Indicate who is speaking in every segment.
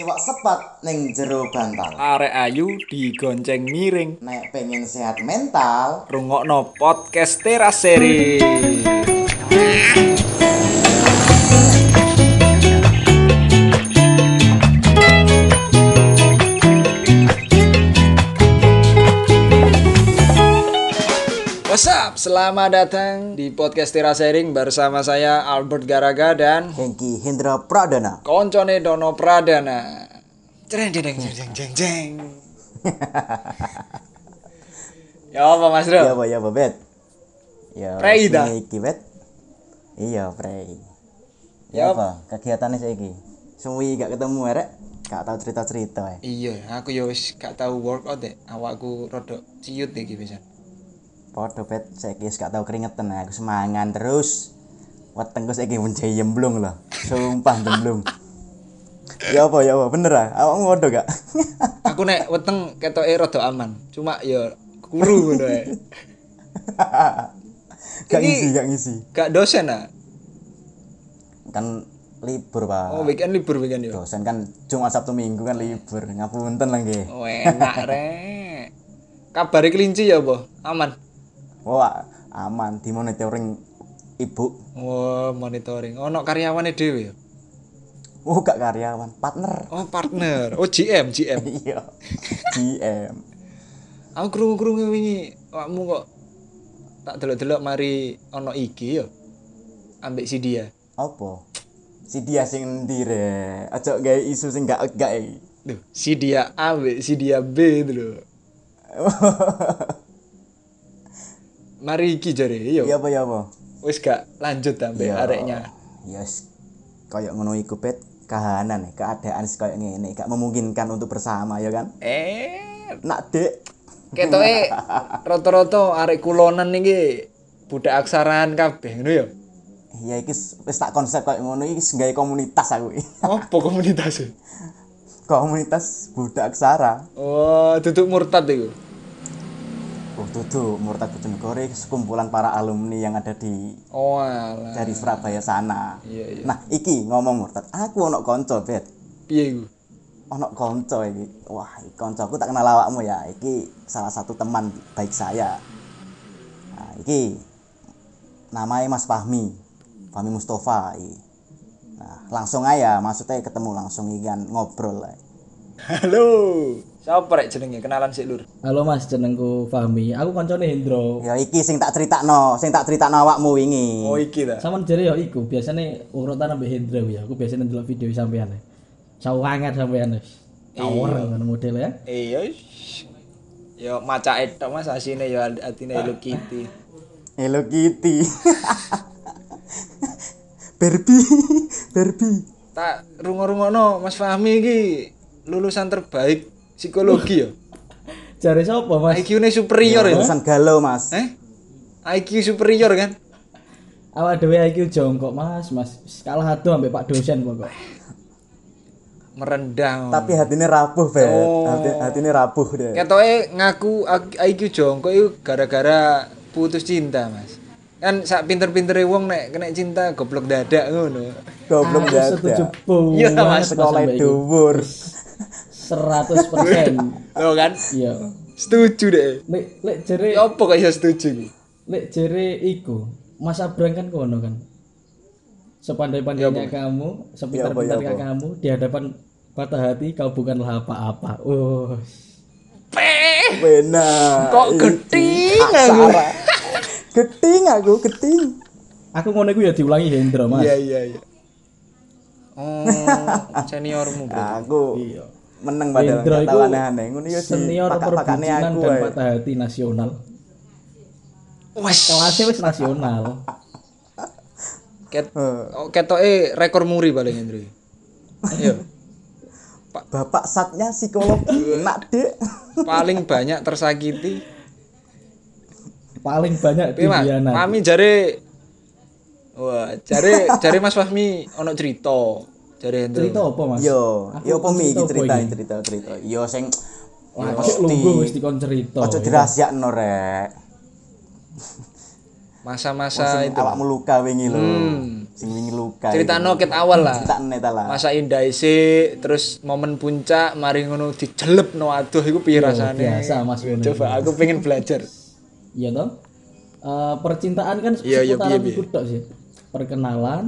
Speaker 1: iwak sepat ning jero bantal.
Speaker 2: Arek ayu digonceng miring.
Speaker 1: Nek pengen sehat mental,
Speaker 2: Rungokno podcast teras seri. What's up? Selamat datang di podcast Teras Sharing bersama saya Albert Garaga dan
Speaker 1: Hengki Hendro Pradana.
Speaker 2: Koncone Dono Pradana. Jeng jeng jeng jeng jeng jeng. Ya apa Mas Bro?
Speaker 1: Ya apa ya apa, Bet. Ya
Speaker 2: Prei dah.
Speaker 1: sing iki, Bet. Iya, Prei.
Speaker 2: Yap.
Speaker 1: Ya apa? Kegiatannya saiki. Suwi gak ketemu arek, gak tau cerita-cerita eh. ae.
Speaker 2: Iya, aku yo wis gak tau workout deh. Awakku rodok ciut iki bisa.
Speaker 1: Podo Bet saiki wis gak tau keringetan eh. aku semangan terus. Wetengku saiki menjai jemblung loh. Sumpah jemblung. ya apa ya apa bener ah? Awakmu podo gak?
Speaker 2: Aku nek weteng ketoke rodok aman. Cuma yo kuru ngono ae.
Speaker 1: gak
Speaker 2: Ini-
Speaker 1: ngisi, gak ngisi.
Speaker 2: Gak dosen ah.
Speaker 1: Kan libur, Pak.
Speaker 2: Oh, weekend libur weekend yo.
Speaker 1: dosen kan Jumat Sabtu Minggu kan libur ngapunten lah nggih.
Speaker 2: Oh, enak rek. Kabare kelinci ya apa? Aman.
Speaker 1: Wah aman di monitoring ibu.
Speaker 2: Wah, monitoring. Ono karyawane dhewe ya.
Speaker 1: Oh gak karyawan partner.
Speaker 2: Oh, partner. Oh, GM, GM.
Speaker 1: Iya. GM.
Speaker 2: Aku krungu-krungu wingi awakmu kok tak delok-delok mari ono iki yo. Ambek si dia.
Speaker 1: Apa? Si dia sing endi rek? Aja gawe isu sing gak gak. e.
Speaker 2: Duh, si dia A, B, si dia B itu loh. Mari iki jare yo.
Speaker 1: Iya apa ya apa?
Speaker 2: Wis gak lanjut ambek
Speaker 1: Ya,
Speaker 2: areknya.
Speaker 1: Yes. Kayak ngono iku pet kahanan eh, keadaan kayak ngene gak memungkinkan untuk bersama ya kan.
Speaker 2: Eh,
Speaker 1: Nak Dek.
Speaker 2: ketoke rata-rata arek kulonan iki budak aksaraan kabeh ngono yo.
Speaker 1: Ya iki wis tak konsep kayak ngono iki wis gawe komunitas aku. iki.
Speaker 2: Apa komunitas?
Speaker 1: komunitas budak aksara.
Speaker 2: Oh, duduk murtad iku.
Speaker 1: Oh, tuh Murtad Bojonegoro itu sekumpulan para alumni yang ada di
Speaker 2: Oh, alah.
Speaker 1: dari Surabaya sana.
Speaker 2: Iya, iya.
Speaker 1: Nah, iki ngomong Murtad, aku ono konco, Bet.
Speaker 2: Piye iku?
Speaker 1: Ono konco iki. Wah, iki koncoku tak kenal awakmu ya. Iki salah satu teman baik saya. Nah, iki namanya Mas Fahmi. Fahmi Mustafa iki. Nah, langsung aja maksudnya ketemu langsung iki kan ngobrol. lah.
Speaker 2: Halo. Siapa rek jenenge? Kenalan sik, Lur.
Speaker 3: Halo Mas, jenengku Fahmi. Aku koncone Hendro.
Speaker 1: Ya iki sing tak critakno, sing tak critakno awakmu wingi.
Speaker 2: Oh, iki ta.
Speaker 3: Sama jere yo iku, biasane urutan ambek Hendro ya. Aku biasane ndelok video sampean. Sawangan sampean wis. Tower ngono model ya.
Speaker 2: Iya. shh. Yo macake tok Mas asine yo atine Hello Kitty.
Speaker 1: Hello Kitty. Barbie, Barbie.
Speaker 2: tak rungo-rungono Mas Fahmi iki lulusan terbaik psikologi ya.
Speaker 3: Jare sapa Mas?
Speaker 2: IQ-ne superior ya.
Speaker 3: Eh?
Speaker 1: Lulusan galau, Mas.
Speaker 2: Eh? IQ superior kan?
Speaker 3: Awak dhewe IQ jongkok Mas, Mas. Wis Kalah ado ambek Pak dosen pokok.
Speaker 2: Merendah.
Speaker 1: Tapi hatinya rapuh, Beb.
Speaker 2: Oh.
Speaker 1: Hati, hatinya rapuh deh.
Speaker 3: Ya.
Speaker 2: Ketoke ngaku IQ jongkok itu gara-gara putus cinta, Mas. Kan sak pinter-pintere wong nek kena cinta goblok dadak ngono.
Speaker 1: Goblok
Speaker 3: Aku
Speaker 1: ya.
Speaker 3: setuju
Speaker 2: Iya,
Speaker 3: banget,
Speaker 2: Mas.
Speaker 1: Sekolah
Speaker 3: sampai iki.
Speaker 1: dhuwur.
Speaker 3: 100%.
Speaker 2: Loh kan?
Speaker 3: Iya.
Speaker 2: Setuju deh.
Speaker 3: Lek lek jere
Speaker 2: Ya Apa kok iso setuju iki?
Speaker 3: lek jere iku. Mas Abrang kan kono kan. Sepandai-pandainya kamu, sepintar-pintarnya kamu, di hadapan patah hati kau bukanlah apa-apa. Oh,
Speaker 2: Peh.
Speaker 1: Benar.
Speaker 2: Kok geting aku.
Speaker 1: Aksara. Geting aku, geting.
Speaker 3: aku ngono iku ya diulangi Hendro Mas.
Speaker 2: Iya iya iya. Oh, seniormu, Bro.
Speaker 1: Aku
Speaker 3: Iya.
Speaker 1: meneng padahal
Speaker 3: Hendro
Speaker 1: nggak
Speaker 3: iku
Speaker 1: tahu aneh-aneh. Ngono ya di
Speaker 3: Senior
Speaker 1: pakak-pakane
Speaker 3: perbucinan
Speaker 1: aku. eh.
Speaker 3: dan
Speaker 1: woy.
Speaker 3: patah hati nasional.
Speaker 2: Wes.
Speaker 3: Kelasnya wis nasional.
Speaker 2: Ket oh, ketoke rekor muri paling Hendri. Iya.
Speaker 1: Bapak satnya psikologi enak, Dek.
Speaker 2: Paling banyak tersakiti.
Speaker 3: Paling banyak
Speaker 2: Tapi Mas,
Speaker 3: dihianati.
Speaker 2: Fahmi jare Wah, jare jare Mas Fahmi ono cerita. Jare Hendri.
Speaker 3: Cerita apa Mas?
Speaker 1: Yo,
Speaker 3: Aku
Speaker 1: yo
Speaker 3: kon
Speaker 1: pomi
Speaker 3: cerita
Speaker 1: iki
Speaker 3: apa
Speaker 1: cerita,
Speaker 3: iki?
Speaker 1: cerita, cerita. Yo sing
Speaker 3: Wah, cek lungguh wis dikon cerita.
Speaker 1: Ojo dirahasiakno rek.
Speaker 2: Masa-masa
Speaker 1: Sing
Speaker 2: itu.
Speaker 1: awakmu luka wingi lho.
Speaker 2: Hmm.
Speaker 1: sing wingi luka.
Speaker 2: Ceritano ket awal lah.
Speaker 1: cerita neta lah.
Speaker 2: Masa indah isi, terus momen puncak, mari ngono dijelep no aduh, itu piye rasanya.
Speaker 3: biasa, Mas, ngono.
Speaker 2: Coba aku pengen belajar.
Speaker 3: Iya toh? Eh, percintaan kan
Speaker 2: Iya, iya,
Speaker 3: seputaran
Speaker 2: piye, piye.
Speaker 3: iku tok sih. Perkenalan,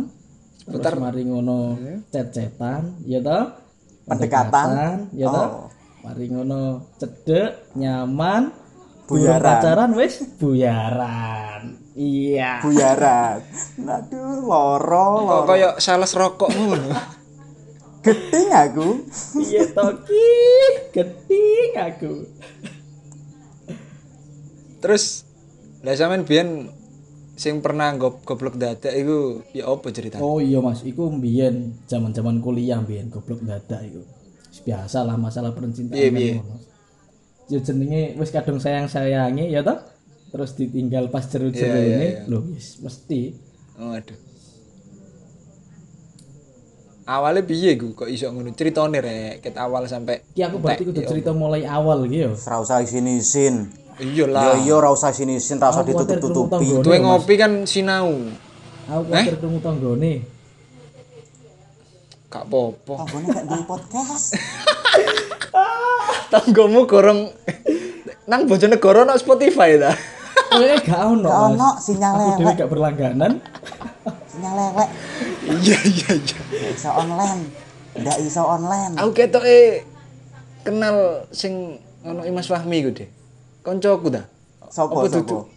Speaker 3: terus mari ngono cet-cetan, ya toh?
Speaker 1: Pendekatan.
Speaker 3: Pendekatan, ya
Speaker 2: Oh.
Speaker 3: toh? Mari ngono cedek, nyaman,
Speaker 1: Buyaran.
Speaker 3: burung pacaran wis buyaran. Iya.
Speaker 1: Buyaran. Aduh, loro,
Speaker 2: Kok
Speaker 1: loro.
Speaker 2: kayak sales rokok ngono.
Speaker 1: Geting aku.
Speaker 3: Iya toki, geting aku.
Speaker 2: Terus lah sampean biyen sing pernah go goblok dadak iku ya apa ceritanya?
Speaker 3: Oh iya Mas, iku mbiyen zaman-zaman kuliah mbiyen goblok dadak iku. Biasa lah masalah percintaan
Speaker 2: Piye, piye?
Speaker 3: ngono. Ya jenenge wis kadung sayang-sayangi ya toh? Terus ditinggal pas jeru-jeru
Speaker 2: Iya, iya,
Speaker 3: ini,
Speaker 2: iya.
Speaker 3: lho wis mesti
Speaker 2: Oh. Waduh. Awalnya piye gue kok iso ngono ceritane rek ket awal sampai
Speaker 3: Ki aku berarti kudu cerita mulai awal iki yo.
Speaker 1: Ora usah sinisin. Yo
Speaker 2: iya lah
Speaker 1: yo ora usah sinisin, ora usah
Speaker 3: Aku khawatir
Speaker 1: ditutup-tutupi.
Speaker 3: kerungu
Speaker 2: Duwe ngopi kan sinau
Speaker 3: Aku
Speaker 2: Eh?
Speaker 3: kuwatir krungu tanggane.
Speaker 2: gak popo
Speaker 1: Tanggone gak duwe podcast.
Speaker 2: tanggomu gorong nang Bojonegoro no Spotify ta
Speaker 3: Kowe Oh, eh, gak ono.
Speaker 1: Gak
Speaker 3: Mas.
Speaker 1: ono sinyal
Speaker 3: Aku dhewe
Speaker 1: elek,
Speaker 3: gak berlangganan.
Speaker 1: sinyal elek.
Speaker 2: iya iya iya
Speaker 1: Gak iso online. Gak iso online.
Speaker 2: aku ketoke kenal sing ngono Mas Fahmi ku deh koncoku ta
Speaker 1: Sopo
Speaker 2: Apa
Speaker 1: sopo?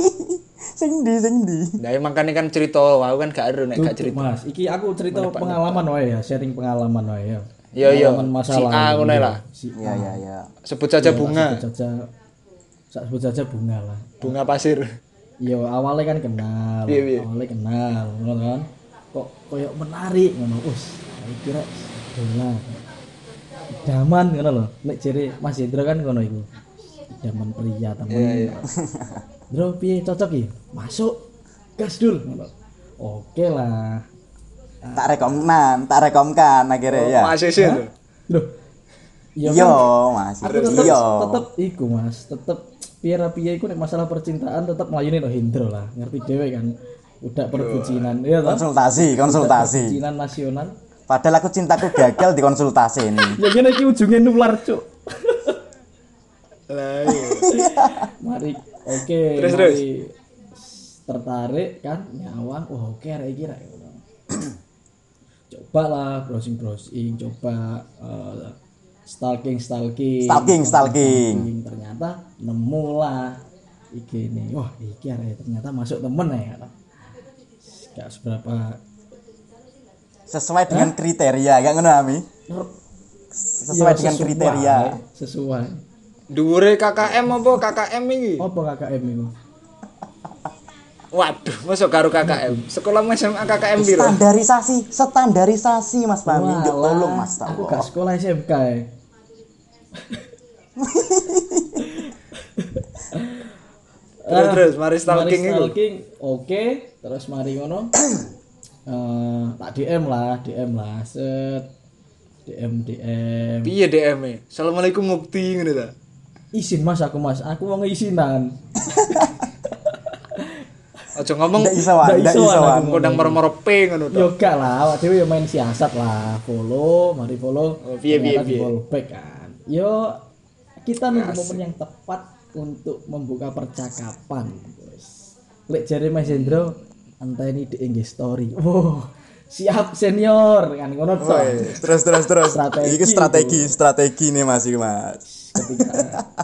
Speaker 1: Sing ndi sing ndi?
Speaker 2: Nah, makanya kan cerita, aku kan gak ada nek gak
Speaker 3: Tutup,
Speaker 2: cerita.
Speaker 3: Mas, iki aku cerita pengalaman wae ya, sharing pengalaman wae ya.
Speaker 2: Iya, iya.
Speaker 3: Pengalaman
Speaker 2: Si
Speaker 3: masalah.
Speaker 2: A ngono lah.
Speaker 3: Si A.
Speaker 1: Ya ya ya.
Speaker 2: Sebut saja bunga,
Speaker 3: Sebut saja sak sebut saja bunga lah.
Speaker 2: bunga pasir.
Speaker 3: Yo awalnya kan kenal,
Speaker 2: Iya, iya.
Speaker 3: awalnya kenal, ngono kan. Kok koyok menarik ngono. Us, aku kira bunga. Daman ngono lho. Nek jere Mas Hendra kan ngono iku. Daman pria
Speaker 2: Iya,
Speaker 3: temen. Bro, piye cocok ya? Masuk. Gas dul ngono. Oke lah.
Speaker 1: Tak rekomnan, tak rekomkan akhirnya ya.
Speaker 2: Mas Isin tuh.
Speaker 3: Loh. Oh, Iya
Speaker 1: Yo, Mas. Iya.
Speaker 3: aku tetep
Speaker 1: Yo.
Speaker 3: tetep iku mas tetep piara piye iku nek masalah percintaan tetep melayuni no hindro lah ngerti dhewe kan udah perbucinan iya toh
Speaker 1: Konsultasi, konsultasi.
Speaker 3: perbucinan nasional
Speaker 1: Padahal aku cintaku gagal di konsultasi ini.
Speaker 3: ya kene iki ujunge nular cuk
Speaker 2: Lah,
Speaker 3: mari oke
Speaker 2: Terus,
Speaker 3: mari tertarik kan nyawang wah oke rek iki rek coba lah browsing browsing coba eh, stalking stalking
Speaker 1: Stalking, stalking.
Speaker 3: Stalking, ternyata nemu lah iki nih wah iki arek ternyata masuk temen ya gak seberapa
Speaker 1: Sesuai dengan kriteria, gak ngono Ami? Sesuai
Speaker 3: Ya,
Speaker 1: dengan kriteria.
Speaker 3: sesuai
Speaker 2: Dhuwure KKM apa KKM ini?
Speaker 3: apa KKM itu
Speaker 2: Waduh, masuk karo KKM. Sekolah SMA KKM biru.
Speaker 1: Standarisasi, standarisasi Mas Fahmi. Nduk, tolong Mas tak
Speaker 3: aku gak sekolah SMK ya.
Speaker 2: Terus terus mari
Speaker 3: Mari
Speaker 2: stalking iku.
Speaker 3: stalking, oke terus mari ngono Eh, tak DM lah DM lah set DM DM
Speaker 2: Piye DM -e? Assalamualaikum Mukti ngono ta.
Speaker 3: izin mas aku mas aku mau ngeizinan
Speaker 2: Aja ngomong
Speaker 1: Ndak iso, Wan.
Speaker 3: Ndak
Speaker 1: ndak
Speaker 3: iso,
Speaker 1: iso. Wan.
Speaker 3: aku.
Speaker 2: kodang moro-moro P ngono ta.
Speaker 3: yo gak lah awak dhewe yo main siasat lah follow mari follow
Speaker 2: Oh, piye, piye,
Speaker 3: Ternyata di
Speaker 2: piye.
Speaker 3: follow back kan yo kita nunggu momen yang tepat untuk membuka percakapan guys lek jare Mas Hendro enteni di Inggris story wow siap senior kan ngono
Speaker 2: Oh, iya,
Speaker 3: toh
Speaker 1: Terus terus terus.
Speaker 3: Strategi.
Speaker 1: Iki strategi, strategi nih Mas iki Mas.
Speaker 3: ketika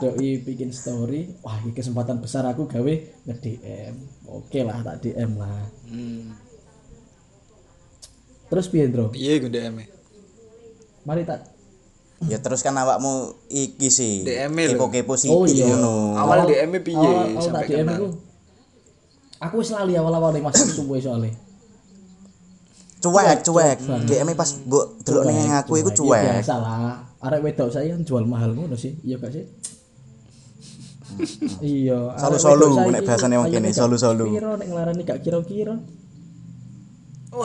Speaker 3: doi bikin story wah ini kesempatan besar aku gawe nge DM oke lah tak DM lah
Speaker 2: Hmm.
Speaker 3: terus piye bro
Speaker 2: Piye ku DM -e?
Speaker 3: mari tak
Speaker 1: Ya terus kan awakmu iki sih.
Speaker 2: DM lho.
Speaker 1: Kepo-kepo sih
Speaker 3: Oh, iya.
Speaker 1: ngono.
Speaker 2: Awal DM -e piye
Speaker 3: awal, awal tak
Speaker 2: sampai
Speaker 3: DM
Speaker 2: kenal?
Speaker 3: aku aku wis lali awal-awal nih masuk subuh soalnya
Speaker 1: Cuek, cuek. DM -e pas mbok delok ning aku iku
Speaker 3: Ya,
Speaker 1: cuek.
Speaker 3: biasa lah arek wedok saya kan jual mahal ngono sih iya gak sih iya arek
Speaker 1: Solu-solu,
Speaker 3: wedok saiki
Speaker 1: nek bahasane wong
Speaker 3: kayaknya
Speaker 1: kene,
Speaker 3: gak
Speaker 1: solu-solu.
Speaker 3: piro nek nglarani gak kira-kira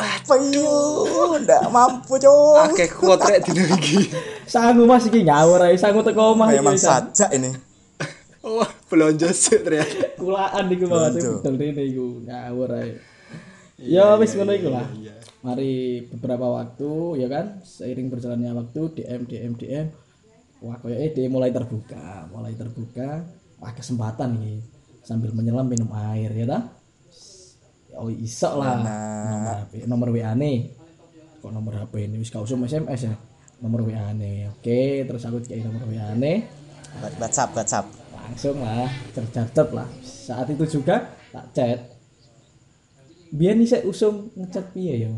Speaker 1: Payuh, ndak mampu
Speaker 3: Ah,
Speaker 1: cung.
Speaker 2: Akeh kuat rek dino iki.
Speaker 3: sangu mas iki ngawur ae sangu teko omah iki
Speaker 1: Memang
Speaker 3: wis.
Speaker 1: sajak ini.
Speaker 2: Wah, belanja sih ternyata.
Speaker 3: kulaan iku mas
Speaker 1: Blonjo.
Speaker 3: betul rene iku ngawur ae ya wis ngono iku lah mari beberapa waktu ya kan seiring berjalannya waktu DM DM DM wah koyo eh dia mulai terbuka mulai terbuka wah kesempatan nih sambil menyelam minum air ya ta oh iso lah nomor HP nomor WA nih kok nomor HP ini wis gak usum SMS ya nomor WA nih oke terus aku dikasih nomor WA nih
Speaker 1: Buat- WhatsApp WhatsApp
Speaker 3: langsung lah tercatat lah saat itu juga tak chat biar nih saya usum ngechat piye ya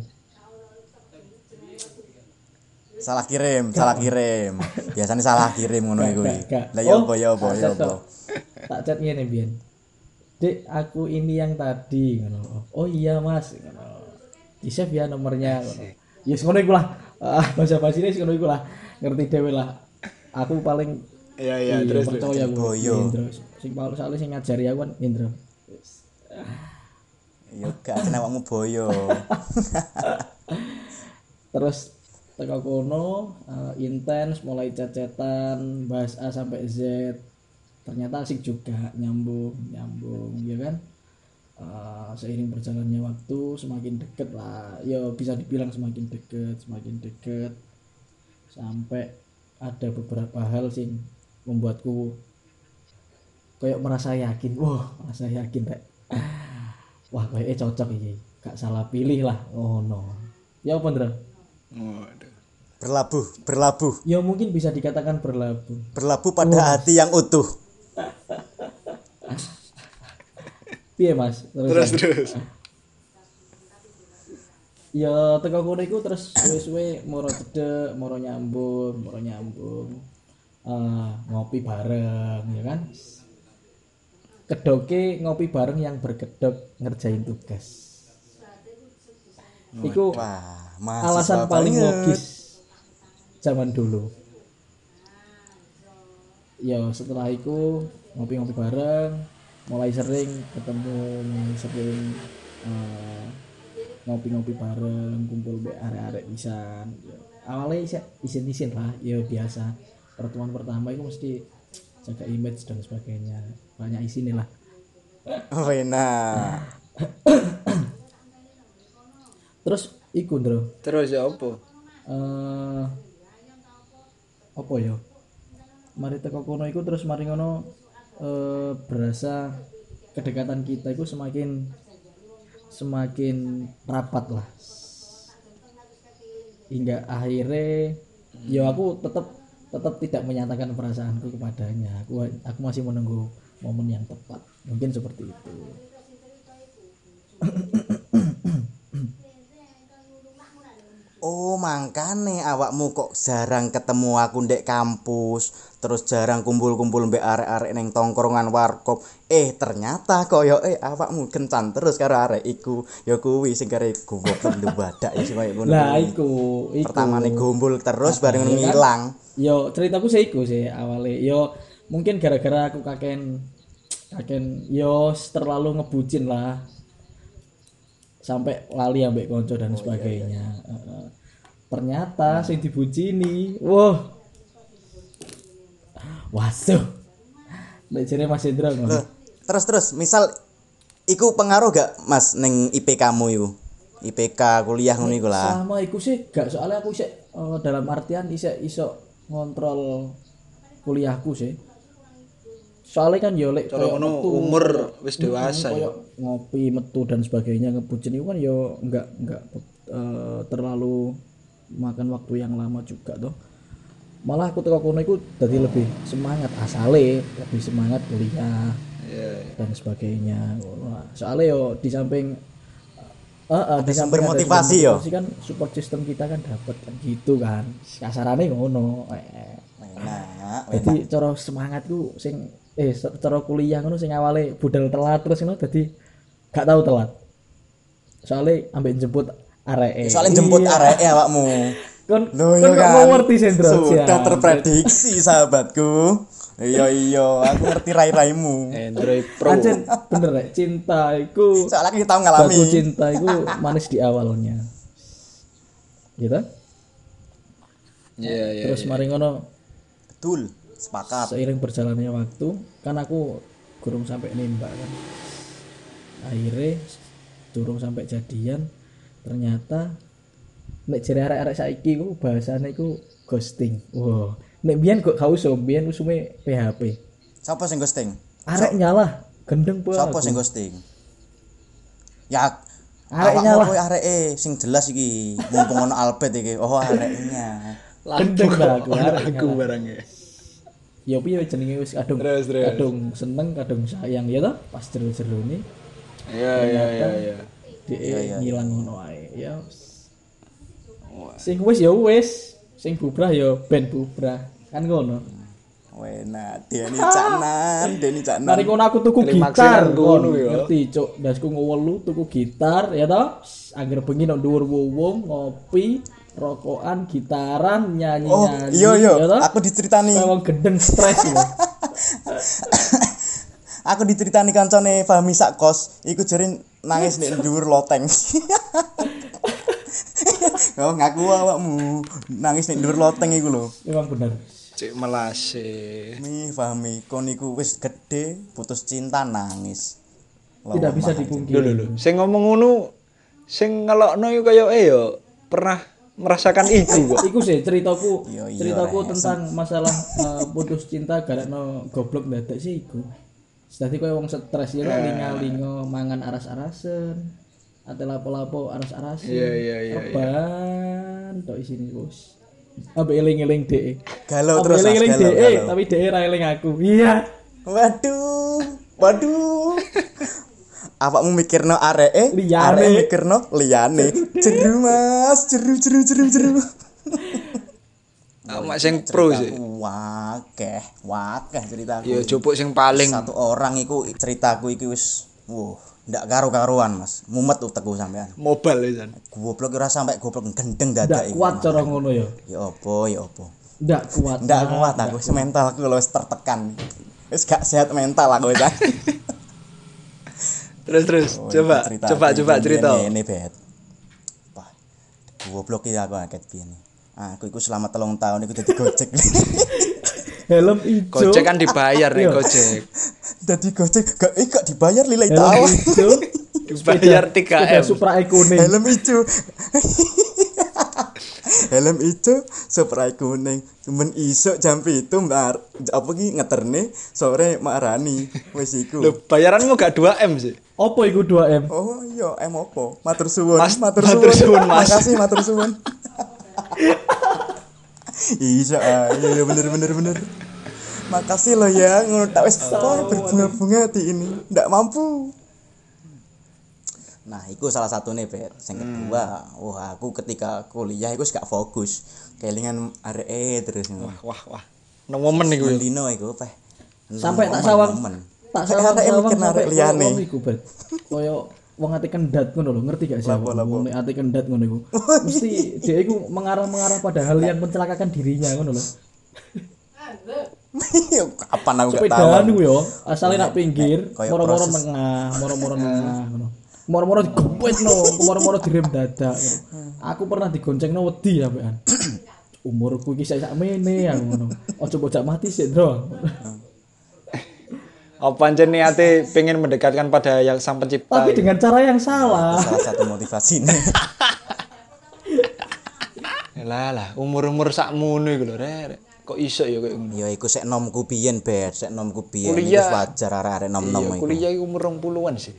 Speaker 1: salah kirim salah kirim biasanya salah kirim ngono iku
Speaker 3: Gak, gak.
Speaker 1: lah ya
Speaker 3: Oh,
Speaker 1: apa ya apa
Speaker 3: tak
Speaker 1: ya
Speaker 3: chat
Speaker 1: apa
Speaker 3: tok. tak chat ngene Bian Dek aku ini yang tadi ngono. Oh iya Mas ngono. Isef ya nomornya ngono. Yes ngono iku lah. Ah, bahasa basine wis ngono iku lah. Ngerti dhewe lah. Aku paling
Speaker 4: Iya iya
Speaker 3: iya,
Speaker 4: terus terus.
Speaker 3: percaya aku.
Speaker 1: Boyo.
Speaker 3: Indro. Sing paling soalnya sing ngajari aku kan Indro.
Speaker 1: ya gak kenapa awakmu boyo
Speaker 3: terus teko kono eh, intens mulai cecetan bahas A sampai Z ternyata asik juga nyambung nyambung ya kan Eh, seiring berjalannya waktu semakin deket lah ya bisa dibilang semakin deket semakin deket sampai ada beberapa hal sing membuatku kayak merasa yakin wah merasa yakin rek wah kayaknya cocok ini gak salah pilih lah oh no ya apa Ndra?
Speaker 4: Waduh.
Speaker 1: berlabuh berlabuh
Speaker 3: ya mungkin bisa dikatakan berlabuh
Speaker 1: berlabuh pada hati yang utuh
Speaker 3: piye mas terus,
Speaker 4: Terus terus.
Speaker 3: ya teko kono iku terus suwe-suwe moro cedek moro nyambung moro nyambung Eh, ngopi bareng ya kan kedoke ngopi bareng yang berkedok ngerjain tugas itu
Speaker 1: wah mahasiswa
Speaker 3: alasan paling
Speaker 1: banget.
Speaker 3: logis zaman dulu ya setelah itu ngopi-ngopi bareng mulai sering ketemu mulai sering eh, ngopi-ngopi bareng kumpul be arek-arek pisan Ya, awalnya isya- isin-isin lah ya biasa pertemuan pertama itu mesti jaga image dan sebagainya banyak isin lah
Speaker 1: oh
Speaker 3: Nah.
Speaker 1: enak
Speaker 3: terus ikut Ndro
Speaker 2: Terus ya opo?
Speaker 3: eh apa ya mari teko kono iku terus mari ngono eh, berasa kedekatan kita itu semakin semakin rapat lah hingga akhirnya ya aku tetap tetap tidak menyatakan perasaanku kepadanya aku aku masih menunggu momen yang tepat mungkin seperti itu
Speaker 1: Oh mangkane awakmu kok jarang ketemu aku ndek kampus Terus jarang kumpul-kumpul mbek arek-arek neng tongkrongan warkop Eh ternyata koyo eh awakmu kencan terus karo arek iku Ya kuwi sing kare goblok ndu badak isi koyo ngono
Speaker 3: lah
Speaker 1: kuwi.
Speaker 3: iku iku Ah,
Speaker 1: Pertamane gombol terus bareng
Speaker 3: iya kan?
Speaker 1: ngilang
Speaker 3: yo ceritaku sih iku sih awalnya yo mungkin gara-gara aku kaken kaken yo terlalu ngebucin lah sampai lali ambek
Speaker 2: Oh,
Speaker 3: konco
Speaker 2: iya,
Speaker 3: dan sebagainya Heeh. ternyata sing dibucini wah wasuh Nek jere Mas Indra ngono.
Speaker 1: Loh, Terus-terus misal Iku pengaruh gak mas neng IPK mu iku IPK kuliah ngono iku lah
Speaker 3: sama iku sih gak soalnya aku sih eh, dalam artian iso iso ngontrol kuliahku sih soalnya kan yo lek
Speaker 2: Cara
Speaker 3: koyo
Speaker 2: ngono
Speaker 3: metu,
Speaker 2: umur
Speaker 3: koyo-
Speaker 2: wis dewasa
Speaker 3: koyo
Speaker 2: ya.
Speaker 3: ngopi metu dan sebagainya ngebucin itu kan yo nggak nggak eh, terlalu makan waktu yang lama juga toh malah aku teko kono iku jadi lebih semangat asale lebih semangat kuliah
Speaker 2: Iya,
Speaker 3: dan sebagainya Wah, soalnya yo di samping eh, eh, di samping ada
Speaker 1: bermotivasi
Speaker 3: sumber
Speaker 1: yo.
Speaker 3: motivasi kan support system kita kan dapat kan gitu kan kasarannya ngono eh.
Speaker 1: Enak
Speaker 3: jadi cara semangatku sing eh se- cara kuliah ngono sing awale budal telat terus ngono jadi gak tahu telat soalnya ambek jemput arek
Speaker 1: Soalnya jemput arek awakmu
Speaker 3: kon
Speaker 1: Loh,
Speaker 3: kon
Speaker 1: iya
Speaker 3: kok
Speaker 1: kan?
Speaker 3: mau ngerti Sendro
Speaker 1: Sudah
Speaker 3: Siap.
Speaker 1: terprediksi sahabatku. Iya iya, aku ngerti rai-raimu.
Speaker 2: Android Pro.
Speaker 3: Anjen, bener rek cinta iku
Speaker 1: Soalnya kita
Speaker 3: batu
Speaker 1: ngalami.
Speaker 3: cinta itu manis di awalnya gitu
Speaker 2: Iya iya.
Speaker 3: terus mari ngono
Speaker 1: Betul, sepakat.
Speaker 3: seiring berjalannya waktu kan aku kurung sampai nembak kan akhirnya durung sampai jadian ternyata nek jare arek-arek saiki ku bahasane iku ghosting. Wow. Nek biyen kok kau so biyen usume PHP.
Speaker 1: Siapa sing ghosting?
Speaker 3: Arek nyalah gendeng po.
Speaker 1: Siapa sing ghosting? Ya
Speaker 3: Arek
Speaker 1: awakmu
Speaker 3: nyalah.
Speaker 1: kowe arek e sing jelas iki. Mumpung ono Albert iki. Oh areknya.
Speaker 3: Gendeng lah aku. arek
Speaker 2: aku
Speaker 3: nyalah.
Speaker 2: barang ya
Speaker 3: Ya piye jenenge wis kadung
Speaker 2: Terus, terus.
Speaker 3: kadung seneng kadung sayang ya toh pas jero-jerone
Speaker 2: ya ya ya ya
Speaker 3: dhek ngilang ngono ae. Ya wis. Sing wis ya wis, sing bubrah ya ben bubrah. Kan ngono.
Speaker 1: Wena, nah, Deni Canan, Deni Canan.
Speaker 3: Mari ngono aku tuku
Speaker 2: Terima
Speaker 3: gitar
Speaker 2: kasih, ngono
Speaker 3: ngono
Speaker 2: ya.
Speaker 3: Ngerti, Cuk. Dasku ngowelu tuku gitar ya toh. Angger bengi nang dhuwur wong ngopi, rokokan,
Speaker 1: Oh,
Speaker 3: gitaran, nyanyi-nyanyi.
Speaker 1: iya iya,
Speaker 3: ya toh.
Speaker 1: aku diceritani.
Speaker 3: Kayak wong gendeng stres ya.
Speaker 1: aku diceritani kancane Fahmi sak kos, iku jerin nangis nek dhuwur loteng. Oh ngaku awakmu nangis nek dhuwur loteng iku lho.
Speaker 3: Memang bener.
Speaker 2: cek melase
Speaker 1: Mi Fahmi kon iku wis gede putus cinta nangis. Lho,
Speaker 3: Tidak bisa
Speaker 2: lho
Speaker 3: dipungkiri.
Speaker 2: lho lho sing ngomong ngono sing ngelokno yo kayak eh yo pernah merasakan iku kok
Speaker 3: Iku sih ceritaku,
Speaker 1: Iya, iya,
Speaker 3: ceritaku
Speaker 1: Rek.
Speaker 3: tentang masalah eh, putus cinta garakno goblok dadak sih iku. Dadi koyo wong stres
Speaker 2: Eh.
Speaker 3: ya linga-linga mangan aras-arasen. Ate lapo-lapo aras-arasen.
Speaker 2: Iya, iya, iya,
Speaker 3: Rebahan tok isine bos. Ambek eling-eling dhek.
Speaker 1: Galau
Speaker 3: Ambek
Speaker 1: terus, Mas,
Speaker 3: Oh, eling-eling
Speaker 1: galau,
Speaker 3: dhek, eh,
Speaker 1: galau.
Speaker 3: tapi dhek ra eling aku. Iya.
Speaker 1: Waduh, waduh. Awakmu mikirno areke,
Speaker 3: Liyane.
Speaker 1: areke mikirno liyane. Jeru Mas, jeru jeru jeru jeru.
Speaker 2: mak sing pro sih
Speaker 1: Wakeh, wakeh ceritaku.
Speaker 2: yo jupuk sing paling
Speaker 1: Satu orang iku ceritaku iki wis wuh, ndak karo-karuan, Mas. Mumet utekku sampean.
Speaker 2: mobile pisan
Speaker 1: Goblok ora sampe goblok gendeng
Speaker 3: Ndak
Speaker 1: dadak iku.
Speaker 3: kuat cara ngono ya.
Speaker 1: Ya opo, ya opo.
Speaker 3: Ndak kuat.
Speaker 1: Ndak kuat aku, wis mentalku lho, wis tertekan. Wis gak sehat mental aku wis.
Speaker 2: terus terus
Speaker 1: Oh,
Speaker 2: coba
Speaker 1: cerita
Speaker 2: coba
Speaker 1: aku
Speaker 2: coba
Speaker 1: biyen
Speaker 2: cerita
Speaker 1: Ini bet. Wah, goblok ya aku kaget piye nih. Ah, Aku iku selama telung tahun iku dadi gojek.
Speaker 3: Helm ijo.
Speaker 2: Gojek kan dibayar nih Gojek.
Speaker 1: Dadi gojek gak eh, gak dibayar lila itu
Speaker 3: Helm
Speaker 1: awal.
Speaker 3: ijo.
Speaker 2: Dibayar
Speaker 3: Sepeda
Speaker 2: 3M.
Speaker 3: Supra Econe.
Speaker 1: Helm ijo. Helm ijo, spray kuning, cuman isuk jam itu mar, apa ki ngeterne sore marani wis iku.
Speaker 2: Loh, bayaranmu gak 2M sih.
Speaker 3: Opo iku 2M?
Speaker 1: Oh iya, em opo? Matur suwun,
Speaker 2: Mas,
Speaker 1: matur
Speaker 2: matur
Speaker 1: suwun.
Speaker 2: suwun, Mas.
Speaker 1: Makasih matur suwun. Iya, iya iya, bener bener bener. Makasih lo ya, ngono tak wis wah, berbunga-bunga hati ini. Ndak mampu. Nah, itu salah satunya, Bet. Yang kedua, wah aku ketika kuliah aku gak fokus. Kelingan RE terus ngono.
Speaker 2: Wah, wah. Nang momen iku. ya.
Speaker 1: Mendino iku peh.
Speaker 3: sampai tak sawang tak
Speaker 1: Sampai arek
Speaker 3: sawang sawang
Speaker 1: mikir
Speaker 3: sampai
Speaker 1: arek liyane.
Speaker 3: koyo wong iku bet koyo wong ati kendat ngono lho ngerti gak sih
Speaker 1: Lapo,
Speaker 3: aku?
Speaker 1: lapo.
Speaker 3: wong ati kendat ngono iku mesti dia iku mengarah-mengarah pada hal yang mencelakakan dirinya ngono lho
Speaker 1: Iya, Kapan aku gak tahu.
Speaker 3: sepedaan iku yo asale nak pinggir
Speaker 1: Kayak
Speaker 3: moro-moro
Speaker 1: proses.
Speaker 3: nengah moro-moro nengah ngono moro-moro digopetno moro-moro direm dadak ngono. aku pernah digoncengno wedi ambekan umurku iki sak mene aku ngono ojo bocah mati sih bro
Speaker 2: Apa aja niate pengen mendekatkan pada yang sang pencipta?
Speaker 3: tapi dengan cara yang salah
Speaker 1: Salah satu motivasi nih.
Speaker 2: Lah lah, umur-umur sakmono iku lho, Rek. Kok iso ya koyo ngono.
Speaker 1: Ya iku sek nomku biyen, Bet. Sek nomku biyen iku wis
Speaker 2: Kuliah.
Speaker 1: wajar arek-arek
Speaker 2: Iya,
Speaker 1: nom-nom iku.
Speaker 2: kuliah iku umur 20-an sih.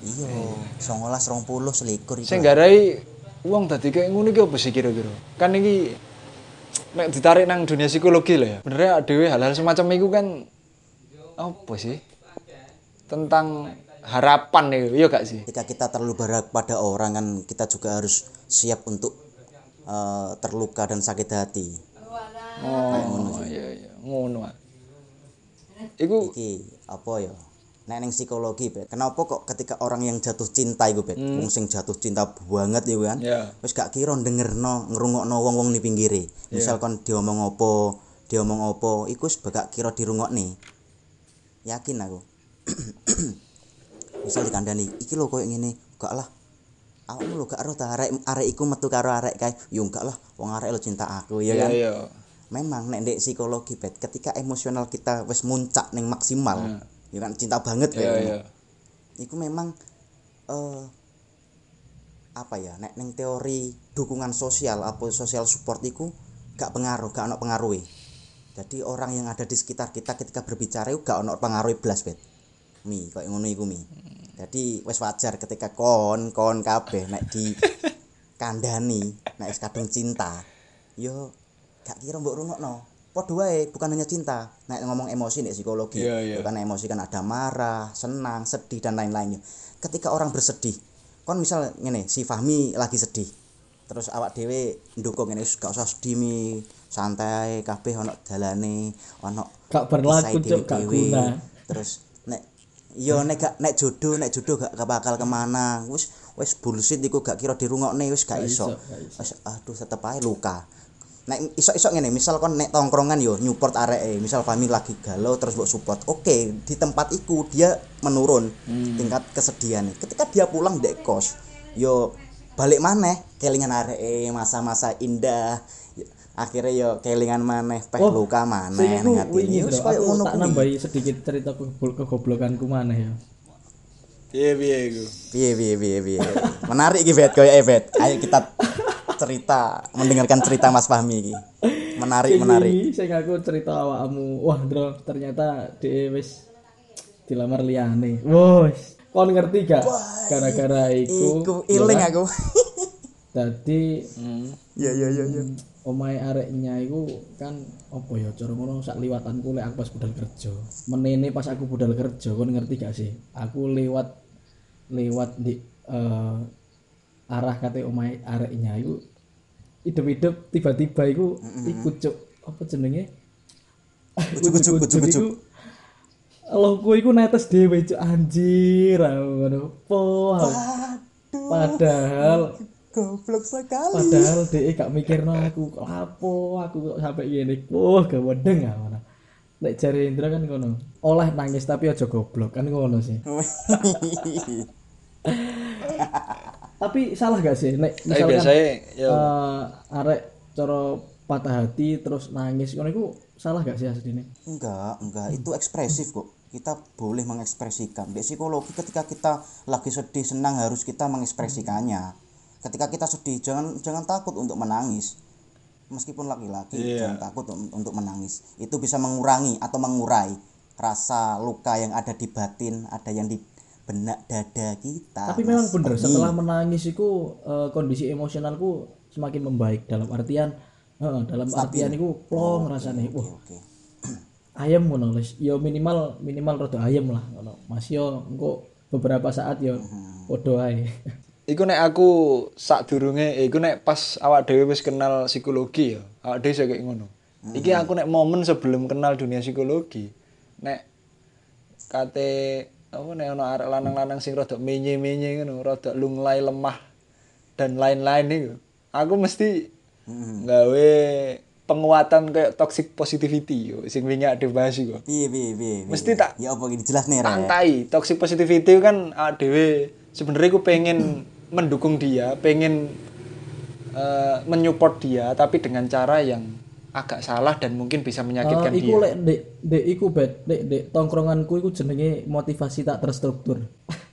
Speaker 1: Iya, 19 20 selikur iku.
Speaker 2: Sing garai uang tadi kayak ngono iki apa sih kira-kira? Kan iki nek ditarik nang dunia psikologi lah ya. Benernya dhewe hal-hal semacam iku kan apa sih? Tentang harapan iku, iya gak sih?
Speaker 1: Ketika kita terlalu berharap pada orang kan kita juga harus siap untuk eh, terluka dan sakit hati.
Speaker 2: Oh, iya iya, ngono. ah. Iku
Speaker 1: Iki apa ya? Nek ning psikologi, Bet. Kenapa kok ketika orang yang jatuh cinta iku, Bet?
Speaker 2: Hmm.
Speaker 1: Wong sing jatuh cinta banget ya kan.
Speaker 2: Iya.
Speaker 1: Wis gak kira dengerno, ngrungokno wong-wong di pinggire. Misal kon diomong apa, diomong apa, iku wis gak kira dirungokne. Yakin aku. misal dikandani iki lho koyo ngene gak lah awakmu lho gak ero ta arek arek iku metu karo arek kae yo gak lah wong arek lo cinta aku ya
Speaker 2: iya
Speaker 1: kan
Speaker 2: iya.
Speaker 1: memang nek ndek psikologi bet ketika emosional kita wis muncak ning maksimal ya kan cinta banget
Speaker 2: Iya
Speaker 1: bet
Speaker 2: iya.
Speaker 1: iku memang eh apa ya nek ning teori dukungan sosial apa sosial support iku gak pengaruh gak ono pengaruh jadi orang yang ada di sekitar kita ketika berbicara itu gak ono pengaruh blas bet mi koyo ngono iku mi jadi wes wajar ketika kon kon kabeh nek di kandani nek wis kadung cinta yo gak kira mbok rungokno padha wae bukan hanya cinta nek ngomong emosi nek psikologi
Speaker 2: Iya, iya.
Speaker 1: Yo kan emosi kan ada marah senang sedih dan lain-lainnya ketika orang bersedih kon misal ngene si Fahmi lagi sedih terus awak dhewe ndukung ngene "Wis, gak usah sedih mi santai kabeh ono dalane ono
Speaker 3: Gak
Speaker 1: usai
Speaker 3: berlaku, Cuk, gak
Speaker 1: dewe-dewe."
Speaker 3: guna.
Speaker 1: terus nek yo nek gak nek jodoh nek jodoh gak bakal kemana wis wis bullshit iku gak kira dirungokne wis gak
Speaker 3: Gak
Speaker 1: iso
Speaker 3: iso, gak iso.
Speaker 1: wis aduh tetep ae luka nek iso-iso ngene misal kon nek tongkrongan yo nyupport areke misal Fami lagi galau terus mbok support oke di tempat iku dia menurun
Speaker 3: Hmm.
Speaker 1: tingkat kesedihan ketika dia pulang dek kos yo balik maneh kelingan areke masa-masa indah Yo, akhirnya yo kelingan maneh peh
Speaker 3: Oh,
Speaker 1: luka maneh
Speaker 3: Sing
Speaker 1: ning
Speaker 3: iku wingi,
Speaker 1: atine wis
Speaker 3: bro,
Speaker 1: koyo
Speaker 3: aku
Speaker 1: ngono
Speaker 3: tak
Speaker 1: kuwi
Speaker 3: nambahi sedikit cerita kegobl- kegoblokanku maneh ya.
Speaker 2: Piye piye iku?
Speaker 1: piye piye piye piye menarik iki Bet koyo Bet ayo kita cerita mendengarkan cerita Mas Fahmi iki menarik
Speaker 3: Sing
Speaker 1: menarik
Speaker 3: wingi, Sing aku cerita awakmu. Wah, Bro, ternyata dhewe wis dilamar liyane. Wos, kon ngerti gak? Gara-gara iku.
Speaker 1: Iku iling aku.
Speaker 3: Dadi
Speaker 1: Ya ya ya ya.
Speaker 3: omahe areknya iku kan apa ya cara ngono sak liwatanku lek aku pas budal kerja. Menene pas aku budal kerja kon ngerti gak sih? Aku lewat lewat di eh, arah kate omahe areknya iku hidup-hidup tiba-tiba iku iku cuk apa jenenge?
Speaker 1: Ujuk-ujuk, ujuk-ujuk.
Speaker 3: iku Logo iku netes dhewe cuk anjir aku ngono. Poh. Padahal
Speaker 1: Goblok sekali.
Speaker 3: padahal DE gak mikirno aku kok lapo aku kok sampe ngene wah gak wedeng gak ngono nek jare Indra kan ngono oleh nangis tapi aja goblok kan ngono sih tapi salah gak sih nek
Speaker 2: Tapi
Speaker 3: misalkan
Speaker 2: biasanya ya
Speaker 3: eh, arek cara patah hati terus nangis ngono iku salah gak sih asline
Speaker 1: enggak, enggak. Itu ekspresif kok. Kita boleh mengekspresikan. Di psikologi ketika kita lagi sedih, senang harus kita mengekspresikannya. Ketika kita sedih, jangan jangan takut untuk menangis. Meskipun laki-laki jangan takut un- untuk menangis. Itu bisa mengurangi atau mengurai rasa luka yang ada di batin, ada yang di benak dada kita.
Speaker 3: tapi
Speaker 1: Mas
Speaker 3: memang bener
Speaker 1: Fahmi.
Speaker 3: setelah menangis iku eh, kondisi emosionalku semakin membaik dalam artian eh, dalam artian iku plong rasane wah
Speaker 1: Oke.
Speaker 3: ayam ngono Les. ya minimal minimal rada ayam lah ngono mas yo engko beberapa saat yo
Speaker 1: Hmm.
Speaker 3: podo ae
Speaker 2: Iku nek aku sak durunge, iku nek pas awak dhewe wis kenal psikologi ya, awak dhewe iso kayak ngono. Iki aku nek momen sebelum kenal dunia psikologi, nek kate apa nek ono arek lanang-lanang sing rada menye-menye ngono, rada lunglai lemah dan lain-lain iku. Aku mesti nggawe penguatan kayak toxic positivity yo sing wingi ada bahas iku.
Speaker 1: Piye piye piye. piye.
Speaker 2: Mesti tak-
Speaker 1: Ya apa ini jelas nih Ra, ya?
Speaker 2: pantai toxic positivity kan awak dhewe sebenarnya aku pengen mendukung dia pengen eh, menyupport dia tapi dengan cara yang agak salah dan mungkin bisa
Speaker 3: Eh,
Speaker 2: menyakitkan dia
Speaker 3: iku lek dek dek iku bet dek dek tongkronganku iku jenenge motivasi tak terstruktur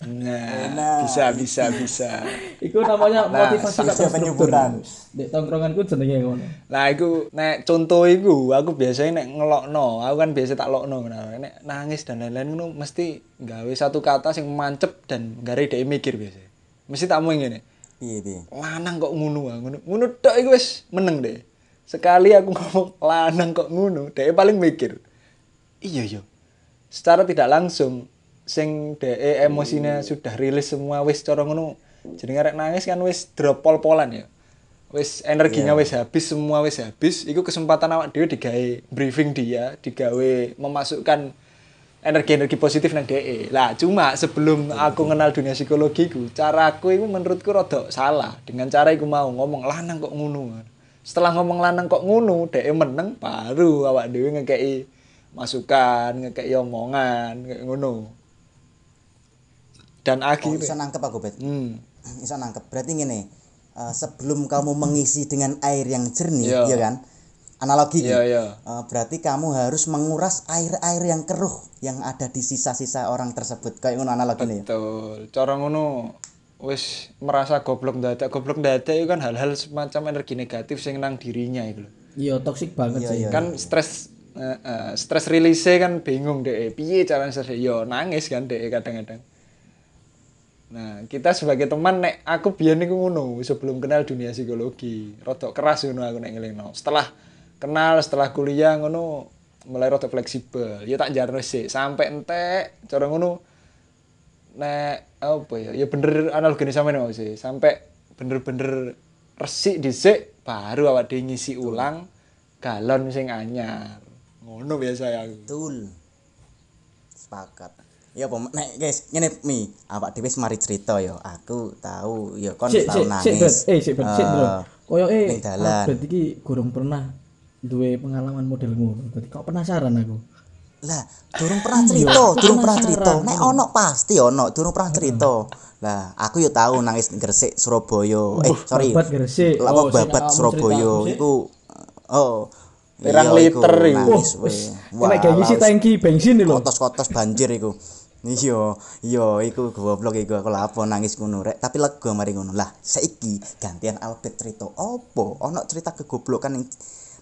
Speaker 2: nah bisa bisa bisa
Speaker 3: iku namanya motivasi
Speaker 1: Sudah
Speaker 3: tak terstruktur
Speaker 1: penyebutan.
Speaker 3: dek tongkronganku jenenge ngono
Speaker 2: nah iku nek contoh iku aku biasanya nek ngelokno aku kan biasa tak lokno nah, nek nangis dan lain-lain ngono mesti nggawe satu kata sing mancep dan gare dhek mikir biasa mesti tak mau ngene
Speaker 1: Piye piye.
Speaker 2: lanang kok ngunu ah ngunu ngunu tok iku wis meneng deh sekali aku ngomong lanang kok ngunu deh paling mikir iya yo secara tidak langsung sing deh emosinya sudah rilis semua wis cara ngono jenenge rek nangis kan wis drop pol-polan ya wis energinya wis habis semua wis habis iku kesempatan awak dhewe digawe briefing dia digawe memasukkan energi-energi positif nang DE. Lah cuma sebelum aku kenal dunia psikologiku, cara aku itu menurutku rada salah dengan cara aku mau ngomong lanang kok ngunu. Setelah ngomong lanang kok ngunu, DE meneng baru awak dhewe ngekeki masukan, ngekeki omongan, kayak ngono. Dan
Speaker 1: Oh,
Speaker 2: akhirnya
Speaker 1: iso nangkep aku bet.
Speaker 2: hmm,
Speaker 1: Iso nangkep. Berarti ngene. eh, sebelum kamu mengisi dengan air yang jernih,
Speaker 2: Iya.
Speaker 1: ya kan? analogi
Speaker 2: Iya,
Speaker 1: Ki.
Speaker 2: iya.
Speaker 1: Eh, berarti kamu harus menguras air-air yang keruh yang ada di sisa-sisa orang tersebut kayak ngono analogi ini ya
Speaker 2: Betul. Cara ngono wis merasa goblok dadak. Goblok dadak itu kan hal-hal semacam energi negatif sing nang dirinya itu. lho.
Speaker 3: iya toksik banget sih
Speaker 2: Kan stres eh, eh, stres release kan bingung deh. Piye caranya stres? Yo nangis kan deh kadang-kadang. Nah, kita sebagai teman nek aku biyen niku ngono sebelum kenal dunia psikologi. Rodok keras ngono aku nek ngelingno. Setelah kenal, setelah kuliah ngono mulai rodok fleksibel. Ya tak jarno sih sampai entek cara ngono nek apa ya ya bener analogine sampean mau sih sampai bener-bener resik dhisik baru awak dhewe ngisi ulang galon sing anyar ngono biasa ya aku
Speaker 1: betul sepakat ya apa nek guys ngene mi awak dhewe wis mari cerita yo aku tahu yo kon
Speaker 3: sik
Speaker 1: tau
Speaker 3: sik sik Ben.
Speaker 1: nangis
Speaker 3: eh sik ben sik bro
Speaker 1: Eh,
Speaker 3: koyo eh
Speaker 1: ning dalan.
Speaker 3: abet iki gorong pernah duwe pengalaman model ngono dadi kok penasaran aku
Speaker 1: lah durung pernah cerita durung pernah cerita nek ono pasti ono durung pernah cerita lah aku yo tahu nangis ning Gresik Surabaya eh sorry
Speaker 3: babat Gresik.
Speaker 1: Lah, apa
Speaker 3: Oh, sing
Speaker 1: babat
Speaker 3: awakmu
Speaker 1: Surabaya
Speaker 3: cerita,
Speaker 1: iku oh
Speaker 2: Pirang
Speaker 1: iya, iku
Speaker 2: liter iku.
Speaker 1: nangis, weh. Wah,
Speaker 3: nek Oh, gawe isi
Speaker 1: laos.
Speaker 3: tangki bensin lho
Speaker 1: kotos-kotos banjir iku. Iya, iya iku goblok iku aku lapo nangis ngono rek, tapi lega mari ngono. Lah, saiki gantian Albert cerita opo? Ono cerita kegoblokan ning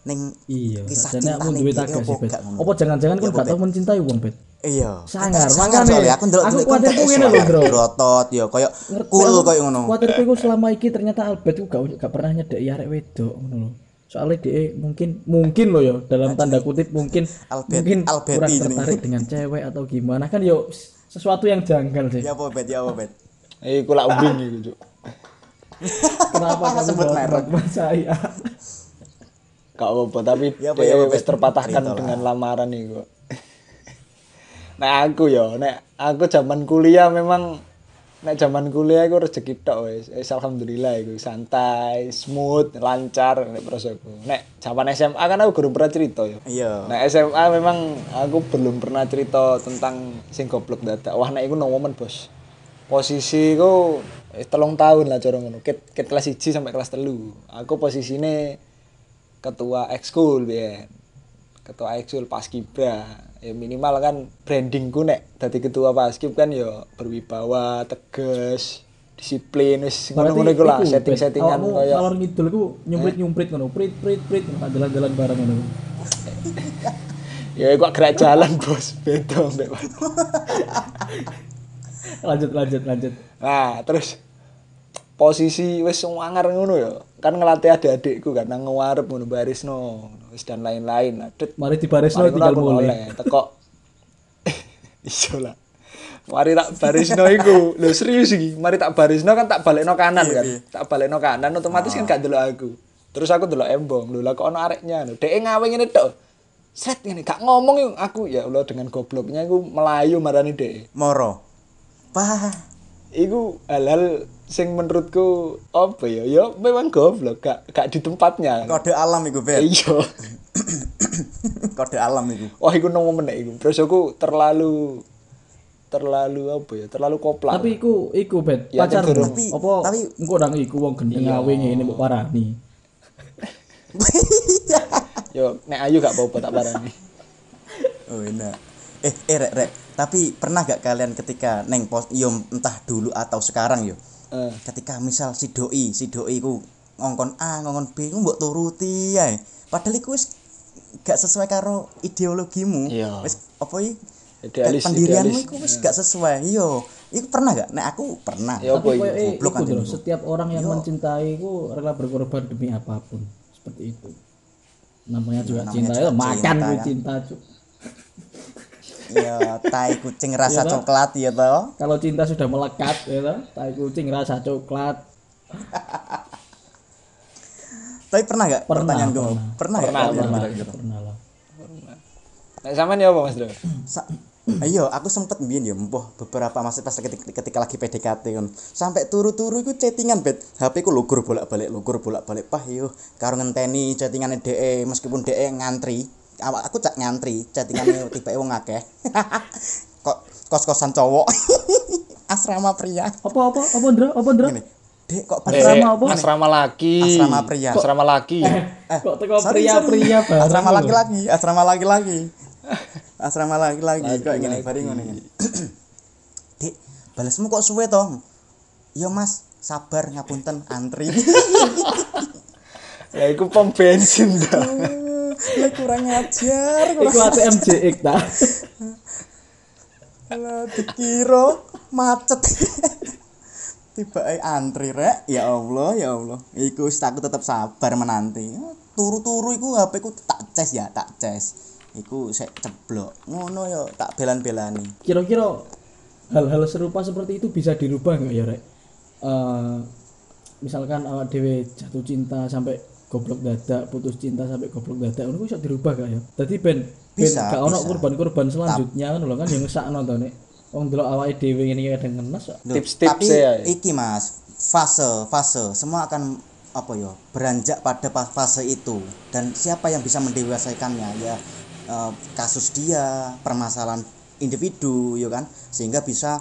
Speaker 1: ning
Speaker 3: iya
Speaker 1: kisah cinta
Speaker 3: sakjane aku
Speaker 1: ning
Speaker 3: duwe
Speaker 1: dia
Speaker 3: tagas
Speaker 1: opo
Speaker 3: sih bet
Speaker 1: gak ngono?
Speaker 3: apa jangan-jangan kon gak tau mencintai wong bet
Speaker 1: Iya.
Speaker 3: Sangar,
Speaker 1: sangar
Speaker 3: makanya.
Speaker 1: soalnya aku ndelok
Speaker 3: Aku
Speaker 1: dulu
Speaker 3: kuatir ku ngene lho, Bro.
Speaker 1: Grotot ya koyo cool koyo ngono.
Speaker 3: Kuatirku iku selama iki ternyata Albert ku gak, gak pernah nyedeki arek wedok ngono lho. Soalnya dia mungkin mungkin loh ya dalam tanda kutip mungkin
Speaker 1: Albert-
Speaker 3: mungkin
Speaker 1: Alberti
Speaker 3: kurang
Speaker 1: jenenge.
Speaker 3: tertarik dengan cewek atau gimana kan yo sesuatu yang janggal sih.
Speaker 1: Ya apa bet ya apa bet.
Speaker 2: eh kula umbing iki Cuk.
Speaker 3: Kenapa kamu
Speaker 1: Sebut
Speaker 3: bawa
Speaker 1: merek.
Speaker 3: teman saya?
Speaker 2: Gak apa-apa, tapi
Speaker 1: Ya, apa, ya,
Speaker 2: dia
Speaker 1: apa,
Speaker 2: wis
Speaker 1: Bet.
Speaker 2: terpatahkan
Speaker 1: Cerita lah.
Speaker 2: dengan lamaran itu. nek aku ya, nek aku zaman kuliah memang nek zaman kuliah aku rezeki tok wis. Wis alhamdulillah iku santai, smooth, lancar nek prosoku. Nek zaman SMA kan aku belum pernah cerita ya.
Speaker 1: Iya.
Speaker 2: Nah SMA memang aku belum pernah cerita tentang sing goblok dadak. Wah nek iku no moment bos. Posisi ku eh, telung tahun lah cara ngono. Ket, ket kelas 1 sampai kelas telu. Aku posisine ketua ekskul biyen. Ketua ekskul paskibra. Ya minimal kan brandingku nek dadi ketua paskib kan ya berwibawa, tegas, disiplin wis ngono-ngono iku lah
Speaker 3: Berarti iku,
Speaker 2: setting-settingan
Speaker 3: awakmu
Speaker 2: koyo
Speaker 3: ngalor ngidul ku
Speaker 1: Eh?
Speaker 3: nyumprit-nyumprit ngono, prit-prit-prit jalan-jalan bareng ngono.
Speaker 2: ya kok gerak jalan bos beda mbek
Speaker 3: Lanjut lanjut lanjut.
Speaker 2: Nah, terus posisi wis wangar ngono ya. Kan ngelatih adik-adikku kan nang ngarep ngono barisno, wis dan lain-lain. Adut.
Speaker 3: Mari di Baresno tinggal mulai.
Speaker 2: Teko. Iso lah. Mari tak barisno iku. Lho serius iki. Mari tak barisno kan tak balekno kanan kan. Tak balekno kanan otomatis kan gak delok aku. Terus aku delok embong. Lho lah kok ono areknya. Lho dhek ngawe ngene tok. Set ngene gak ngomong yuk. aku ya Allah dengan gobloknya aku melayu marani dhek.
Speaker 1: Moro. Wah,
Speaker 2: Iku hal-hal sing menurutku apa ya? Ya memang goblok, gak gak di tempatnya.
Speaker 1: kode alam iku bet.
Speaker 2: Iya.
Speaker 1: Kode alam iku.
Speaker 2: Wah, iku nemu menek iku. Terus aku terlalu terlalu apa ya? Terlalu koplak.
Speaker 3: Tapi iku iku bet
Speaker 2: Ya,
Speaker 3: pacar
Speaker 2: tapi-
Speaker 3: tapi apa tapi
Speaker 1: tapi-
Speaker 3: engko nang iku wong gendeng awe ngene mbok parani. Iya.
Speaker 2: Yo nek ayu gak apa-apa tak parani.
Speaker 1: Oh enak. Eh, eh rek rek. Tapi pernah gak kalian ketika neng pos yo entah dulu atau sekarang yo.
Speaker 2: Eh.
Speaker 1: Ketika misal si doi, si doi ku ngongkon A, ngongkon B, ku mbok turuti ae. Padahal iku wis gak sesuai karo ideologimu.
Speaker 2: Iya.
Speaker 1: Wis apa iki?
Speaker 2: Idealis,
Speaker 1: Pendirianmu
Speaker 2: idealis.
Speaker 1: iku wis gak sesuai. Yo, iku pernah gak? Nek aku pernah.
Speaker 2: Ya,
Speaker 1: Tapi
Speaker 2: apa
Speaker 3: Tapi
Speaker 2: iku?
Speaker 3: koyo eh,
Speaker 1: goblok
Speaker 3: iku
Speaker 1: anjing
Speaker 3: lho,
Speaker 1: iku.
Speaker 3: setiap orang yang mencintai ku rela berkorban demi apapun. Seperti itu. Namanya juga
Speaker 1: namanya
Speaker 3: cinta
Speaker 1: juga
Speaker 3: ya makan
Speaker 1: cinta,
Speaker 3: ku
Speaker 1: kan.
Speaker 3: cinta. cu.
Speaker 1: Yo, tai kucing rasa coklat ya toh.
Speaker 3: Kalau cinta sudah melekat ya toh, tai kucing rasa coklat.
Speaker 1: Tapi pernah gak
Speaker 3: Pernah,
Speaker 1: pertanyaan gue?
Speaker 3: pernah.
Speaker 1: Pernah gak
Speaker 2: Pernah,
Speaker 1: kalian?
Speaker 3: Pernah, pernah lah.
Speaker 2: Nek sampean ya apa Mas Dro?
Speaker 1: Sa Ayo, aku sempet biyen ya mbuh beberapa masih pas ketika, ketika lagi PDKT kan. Sampai turu-turu iku chattingan bet. HP ku lugur bolak-balik, lugur bolak-balik. Pah yo, karo ngenteni chattingane DE meskipun DE ngantri. Awak aku cak ngantri, chattingane tipe wong akeh. Kok kos-kosan cowok. Asrama pria.
Speaker 3: Apa apa apa Ndra? Apa Ndra?
Speaker 1: Ngene. Dek kok
Speaker 3: Asrama
Speaker 1: baterai?
Speaker 3: apa?
Speaker 2: Eh, Asrama laki.
Speaker 1: Asrama pria. Eh.
Speaker 2: Asrama laki.
Speaker 3: kok teko
Speaker 1: sorry, sorry.
Speaker 3: pria-pria bareng
Speaker 1: Asrama
Speaker 3: lho.
Speaker 1: laki-laki, asrama laki-laki. Asrama laki-laki kok ngene bari ngene. Dik, balesmu kok suwe to? Ya Mas, sabar ngapunten antri.
Speaker 2: Ya iku pom bensin ta.
Speaker 1: Ya kurang ajar,
Speaker 3: Iku
Speaker 1: kurang
Speaker 3: ATM JX ta.
Speaker 1: Alah, dikira macet. Tiba eh antri rek, ya Allah, ya Allah. Iku wis aku tetep sabar menanti. Turu-turu iku HP ku tak ces ya, tak ces. Iku sek ceblok. Ngono ya tak belan-belani.
Speaker 3: Kira-kira hal-hal serupa seperti itu bisa dirubah nggak ya, Rek? Eh, misalkan awak dhewe jatuh cinta sampai goblok dadak, putus cinta sampai goblok dadak, ngono iso dirubah gak ya? Dadi ben ben
Speaker 1: Bisa,
Speaker 3: gak ono
Speaker 1: bisa.
Speaker 3: korban-korban selanjutnya ngono lho kan yang ngesakno to nek. Wong delok awake dhewe ngene kadang ngenes kok.
Speaker 1: Loh,
Speaker 2: Tips-tips
Speaker 1: tapi
Speaker 2: ya.
Speaker 1: iki Mas, fase, fase. Semua akan apa ya? Beranjak pada pa- fase itu dan siapa yang bisa mendewasakannya ya eh, kasus dia, permasalahan individu ya kan sehingga bisa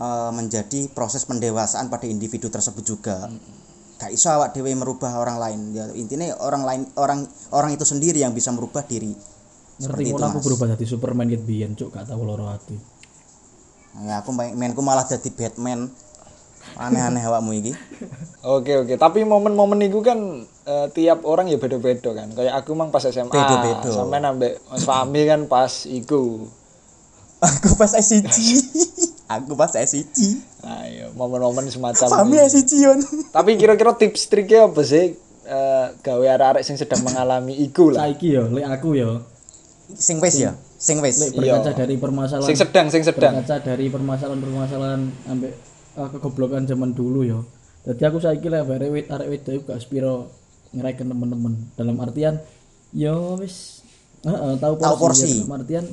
Speaker 1: eh, menjadi proses pendewasaan pada individu tersebut juga. Gak iso awak dhewe merubah orang lain. Ya intine orang lain orang orang itu sendiri yang bisa merubah diri.
Speaker 3: Ngerti
Speaker 1: Seperti itu,
Speaker 3: ngono aku
Speaker 1: Mas.
Speaker 3: berubah dadi Superman ket biyen cuk gak tau loro ati.
Speaker 1: Ya aku main- mainku malah jadi Batman. Aneh-aneh awakmu iki.
Speaker 2: Oke oke, tapi momen-momen itu kan eh, tiap orang ya beda-beda kan. Kayak aku mang pas SMA,
Speaker 1: Beda-beda.
Speaker 2: sampai nambah Mas Fahmi kan pas iku.
Speaker 1: aku pas SCG aku pas SCG
Speaker 2: Nah, iya, momen-momen semacam.
Speaker 1: Fahmi
Speaker 2: itu.
Speaker 1: SCG yon
Speaker 2: Tapi kira-kira tips triknya apa sih? Eh, gawe arek-arek sing sedang mengalami iku lah.
Speaker 3: Saiki yo lek aku yo
Speaker 1: sing wis ya sing wis
Speaker 3: lek berkaca dari permasalahan
Speaker 2: Sing sedang, sing sedang.
Speaker 3: berkaca dari permasalahan-permasalahan ambek eh, kegoblokan zaman dulu ya. Jadi aku saiki lah bare wit arek wedok iku gak sepiro ngereken temen-temen. Dalam artian yo wis heeh tahu porsi.
Speaker 1: Tahu porsi.
Speaker 3: ya. Dalam artian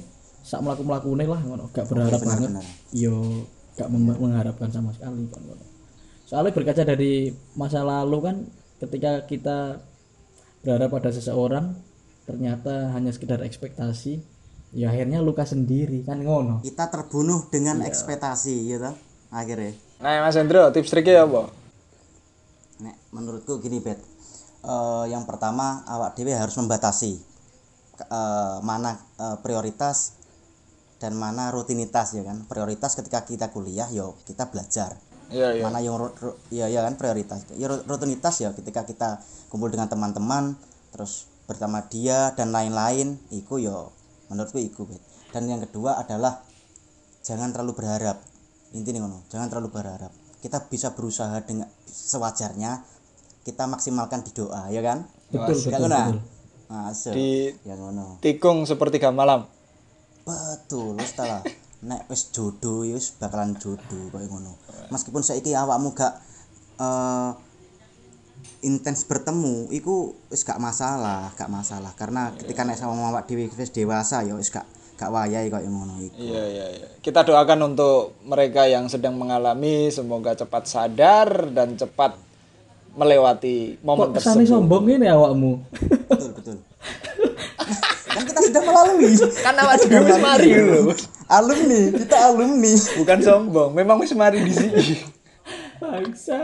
Speaker 3: sak mlaku-mlakune lah ngono, gak berharap banget. Yo gak mem- mengharapkan sama sekali kan ngono. Soalnya berkaca dari masa lalu kan ketika kita berharap pada seseorang ternyata hanya sekedar ekspektasi ya akhirnya luka sendiri kan ngono
Speaker 1: kita terbunuh dengan ekspektasi gitu akhirnya
Speaker 2: Nah, Mas Hendro, tips triknya apa?
Speaker 1: Nek, menurutku gini bet Eh, yang pertama awak dewe harus membatasi Ke- eh, mana eh, prioritas dan mana rutinitas ya kan prioritas ketika kita kuliah yo kita belajar
Speaker 2: Iya, iya.
Speaker 1: mana yang ru- ru- ya ya kan prioritas ya ru- rutinitas ya ketika kita kumpul dengan teman-teman terus bersama dia dan lain-lain iku yo menurutku iku Bet. dan yang kedua adalah jangan terlalu berharap intinya ngono jangan terlalu berharap kita bisa berusaha dengan sewajarnya kita maksimalkan di doa ya kan
Speaker 3: betul
Speaker 1: Gak
Speaker 3: betul,
Speaker 1: ngono ah?
Speaker 3: betul.
Speaker 1: Masuk.
Speaker 2: Di-
Speaker 1: ya ngono
Speaker 2: Tikung sepertiga malam.
Speaker 1: Betul, wis ta lah. Nek wis jodoh ya wis bakalan jodoh koyo ngono. Meskipun saiki awakmu gak eh intens bertemu iku wis gak masalah, gak masalah karena ketika nek sama awak dhewe wis dewasa ya wis gak gak wayahe koyo ngono iku.
Speaker 2: Iya, iya, iya. Kita doakan untuk mereka yang sedang mengalami semoga cepat sadar dan cepat melewati
Speaker 3: kok
Speaker 2: momen
Speaker 3: kesane
Speaker 2: tersebut.
Speaker 3: sombong ini awakmu
Speaker 1: Betul, betul. kan kita sudah melalui.
Speaker 2: Kan awak dhewe wis mari lho.
Speaker 1: alumni, kita alumni.
Speaker 2: Bukan sombong, memang wis mari di sini.
Speaker 3: bangsa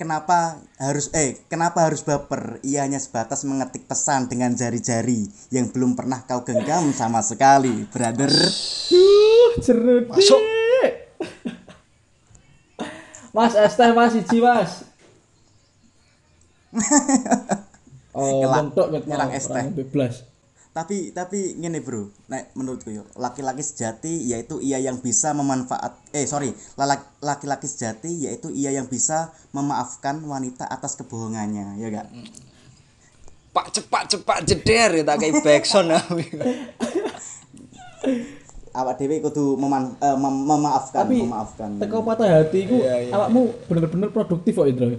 Speaker 1: Kenapa harus eh kenapa harus baper? Ia hanya sebatas mengetik pesan dengan jari-jari yang belum pernah kau genggam sama sekali, brother.
Speaker 3: jerut
Speaker 2: Masuk.
Speaker 3: mas es teh mas siji mas oh
Speaker 1: Ngelak-
Speaker 3: bentuk ket
Speaker 1: nyerang es teh.
Speaker 3: bebas
Speaker 1: Tapi tapi ngene bro, nek menurutku yo, laki-laki sejati yaitu ia yang bisa memanfaat eh sorry, lalak- laki-laki sejati yaitu ia yang bisa memaafkan wanita atas kebohongannya, ya gak?
Speaker 2: Pak cepat cepat jeder ya tak kayak backsound aku.
Speaker 1: Awak dewe kudu meman, eh, mem- memaafkan,
Speaker 3: tapi
Speaker 1: memaafkan.
Speaker 3: teko patah hati ku
Speaker 2: Hmm. Iya, iya.
Speaker 3: awakmu bener-bener produktif kok Indro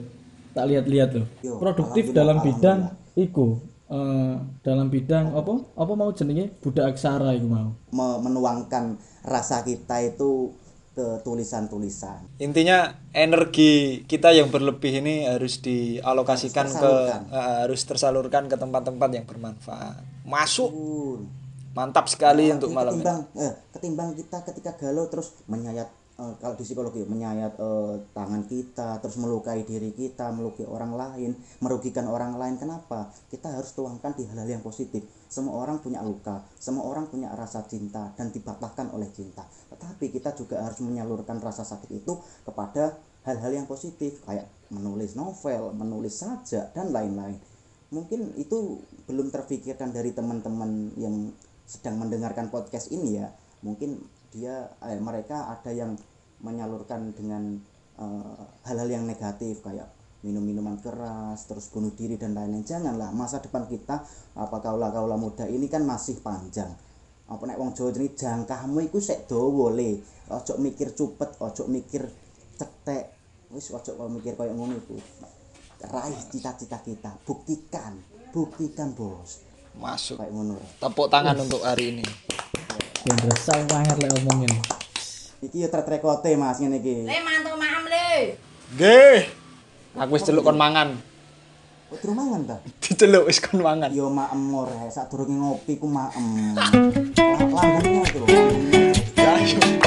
Speaker 3: tak lihat-lihat loh
Speaker 1: Yo,
Speaker 3: produktif dalam bidang iku eh, dalam bidang apa apa mau jenenge budak aksara iku mau
Speaker 1: Me- menuangkan rasa kita itu ke tulisan-tulisan.
Speaker 2: Intinya energi kita yang berlebih ini harus dialokasikan ke eh, harus tersalurkan ke tempat-tempat yang bermanfaat. Masuk
Speaker 1: Betul. Iya,
Speaker 2: mantap sekali untuk malam ini.
Speaker 1: ketimbang eh, ketimbang kita ketika galau terus menyayat eh, kalau di psikologi menyayat eh, tangan kita terus melukai diri kita melukai orang lain merugikan orang lain kenapa kita harus tuangkan di hal-hal yang positif semua orang punya luka semua orang punya rasa cinta dan dibatahkan oleh cinta tetapi kita juga harus menyalurkan rasa sakit itu kepada hal-hal yang positif kayak menulis novel menulis sajak dan lain-lain mungkin itu belum terfikirkan dari teman-teman yang sedang mendengarkan podcast ini ya mungkin dia eh, mereka ada yang menyalurkan dengan eh, hal-hal yang negatif kayak minum minuman keras terus bunuh diri dan lain-lain janganlah masa depan kita apa kaulah kaulah muda ini kan masih panjang apa nek wong Jawa jenenge jangkahmu iku sik dawa le ojo mikir cupet ojo mikir cetek wis ojo kok mikir koyo ngono iku raih cita-cita kita buktikan buktikan bos
Speaker 2: Masuk.
Speaker 1: kayak ngono Rek.
Speaker 2: Tepuk tangan untuk hari ini.
Speaker 3: Gendro sang banget lek omongin.
Speaker 1: iki ya track rekote mas ngene iki
Speaker 4: Le mantu maem le.
Speaker 2: Nggih. Aku wis celuk kon mangan.
Speaker 1: Oh, durung mangan ta
Speaker 2: Diceluk wis kon mangan.
Speaker 1: yo maem ora sak durunge ngopi ku maem La- lambungnya itu lambungnya.
Speaker 2: Ya, ayo.